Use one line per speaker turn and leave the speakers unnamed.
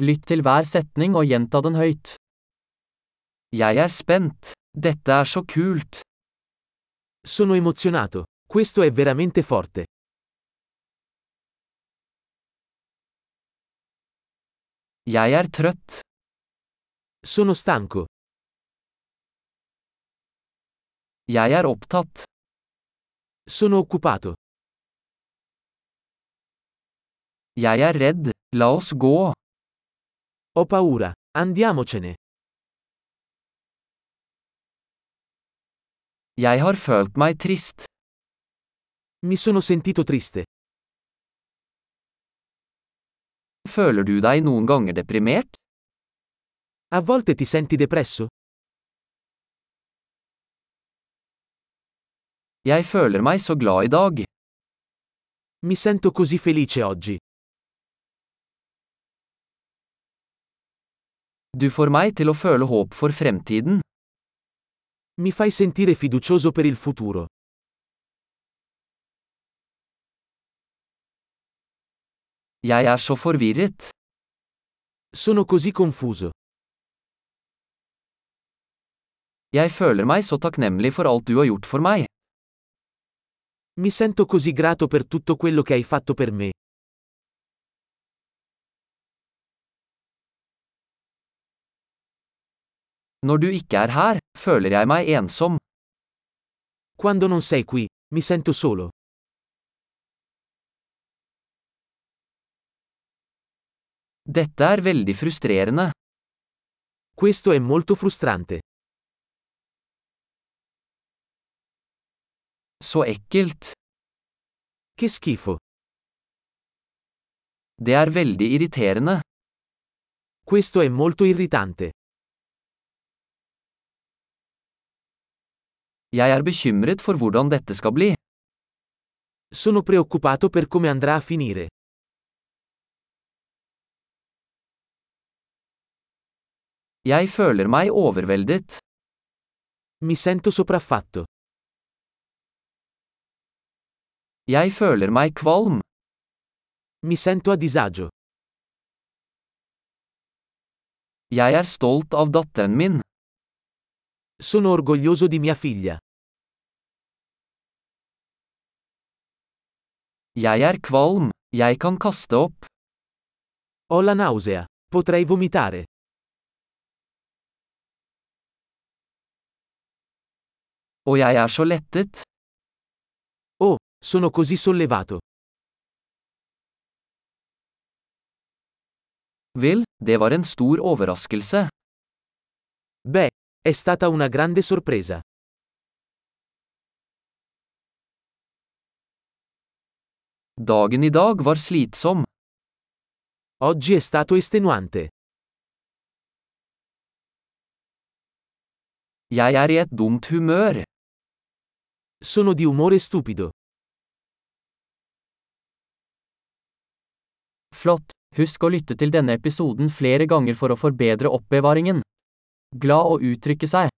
Lytt til hver setning og gjenta den høyt.
Jeg er spent. Dette er så kult.
Sono emozionato. Questo è veramente forte.
Jeg er trøtt.
Sono stanco.
Jeg er opptatt.
Sono occupato.
Jeg er redd. La oss gå.
Ho paura. Andiamocene.
Jeg har følt meg trist.
Mi sono sentito triste.
Føler du deg noen ganger deprimert?
A volte ti senti depresso?
Jeg føler meg så glad i dag.
Mi sento così felice oggi.
Du får meg til å føle håp for fremtiden.
Mi fai sentire fiducioso per il futuro.
Jeg er så forvirret.
Sono così confuso.
Jeg føler meg så takknemlig for alt du har gjort for meg.
Mi sento così grato per tutto quello che hai fatto per me.
Når du ikke er her, føler jeg meg ensom.
Quando non sei qui, mi sento solo.
Dette er veldig frustrerende.
Questo è molto frustrante.
Så ekkelt.
Che schifo.
Det er veldig irriterende.
Questo è molto irritante.
Jeg er bekymret for hvordan dette skal bli.
Sono preoccupato per come andrà a finire.
Jeg føler meg overveldet.
Mi sento sopraffatto.
Jeg føler meg kvalm.
Mi sento a disagio.
Jeg er stolt av datteren min.
Sono orgoglioso di mia figlia.
Jeg er kvalm. Jeg kan kaste opp.
Ho la nausea. Potrei vomitare.
Og jeg er så lettet.
Sono così sollevato.
Vil, det var en stor overraskelse.
Beh, è stata una grande sorpresa.
Dagen i dag var slitsom.
Oggi è stato estenuante.
Jeg er i et dumt humør.
Sono di umore stupido.
Flott! Husk å lytte til denne episoden flere ganger for å forbedre oppbevaringen. Glad å uttrykke seg.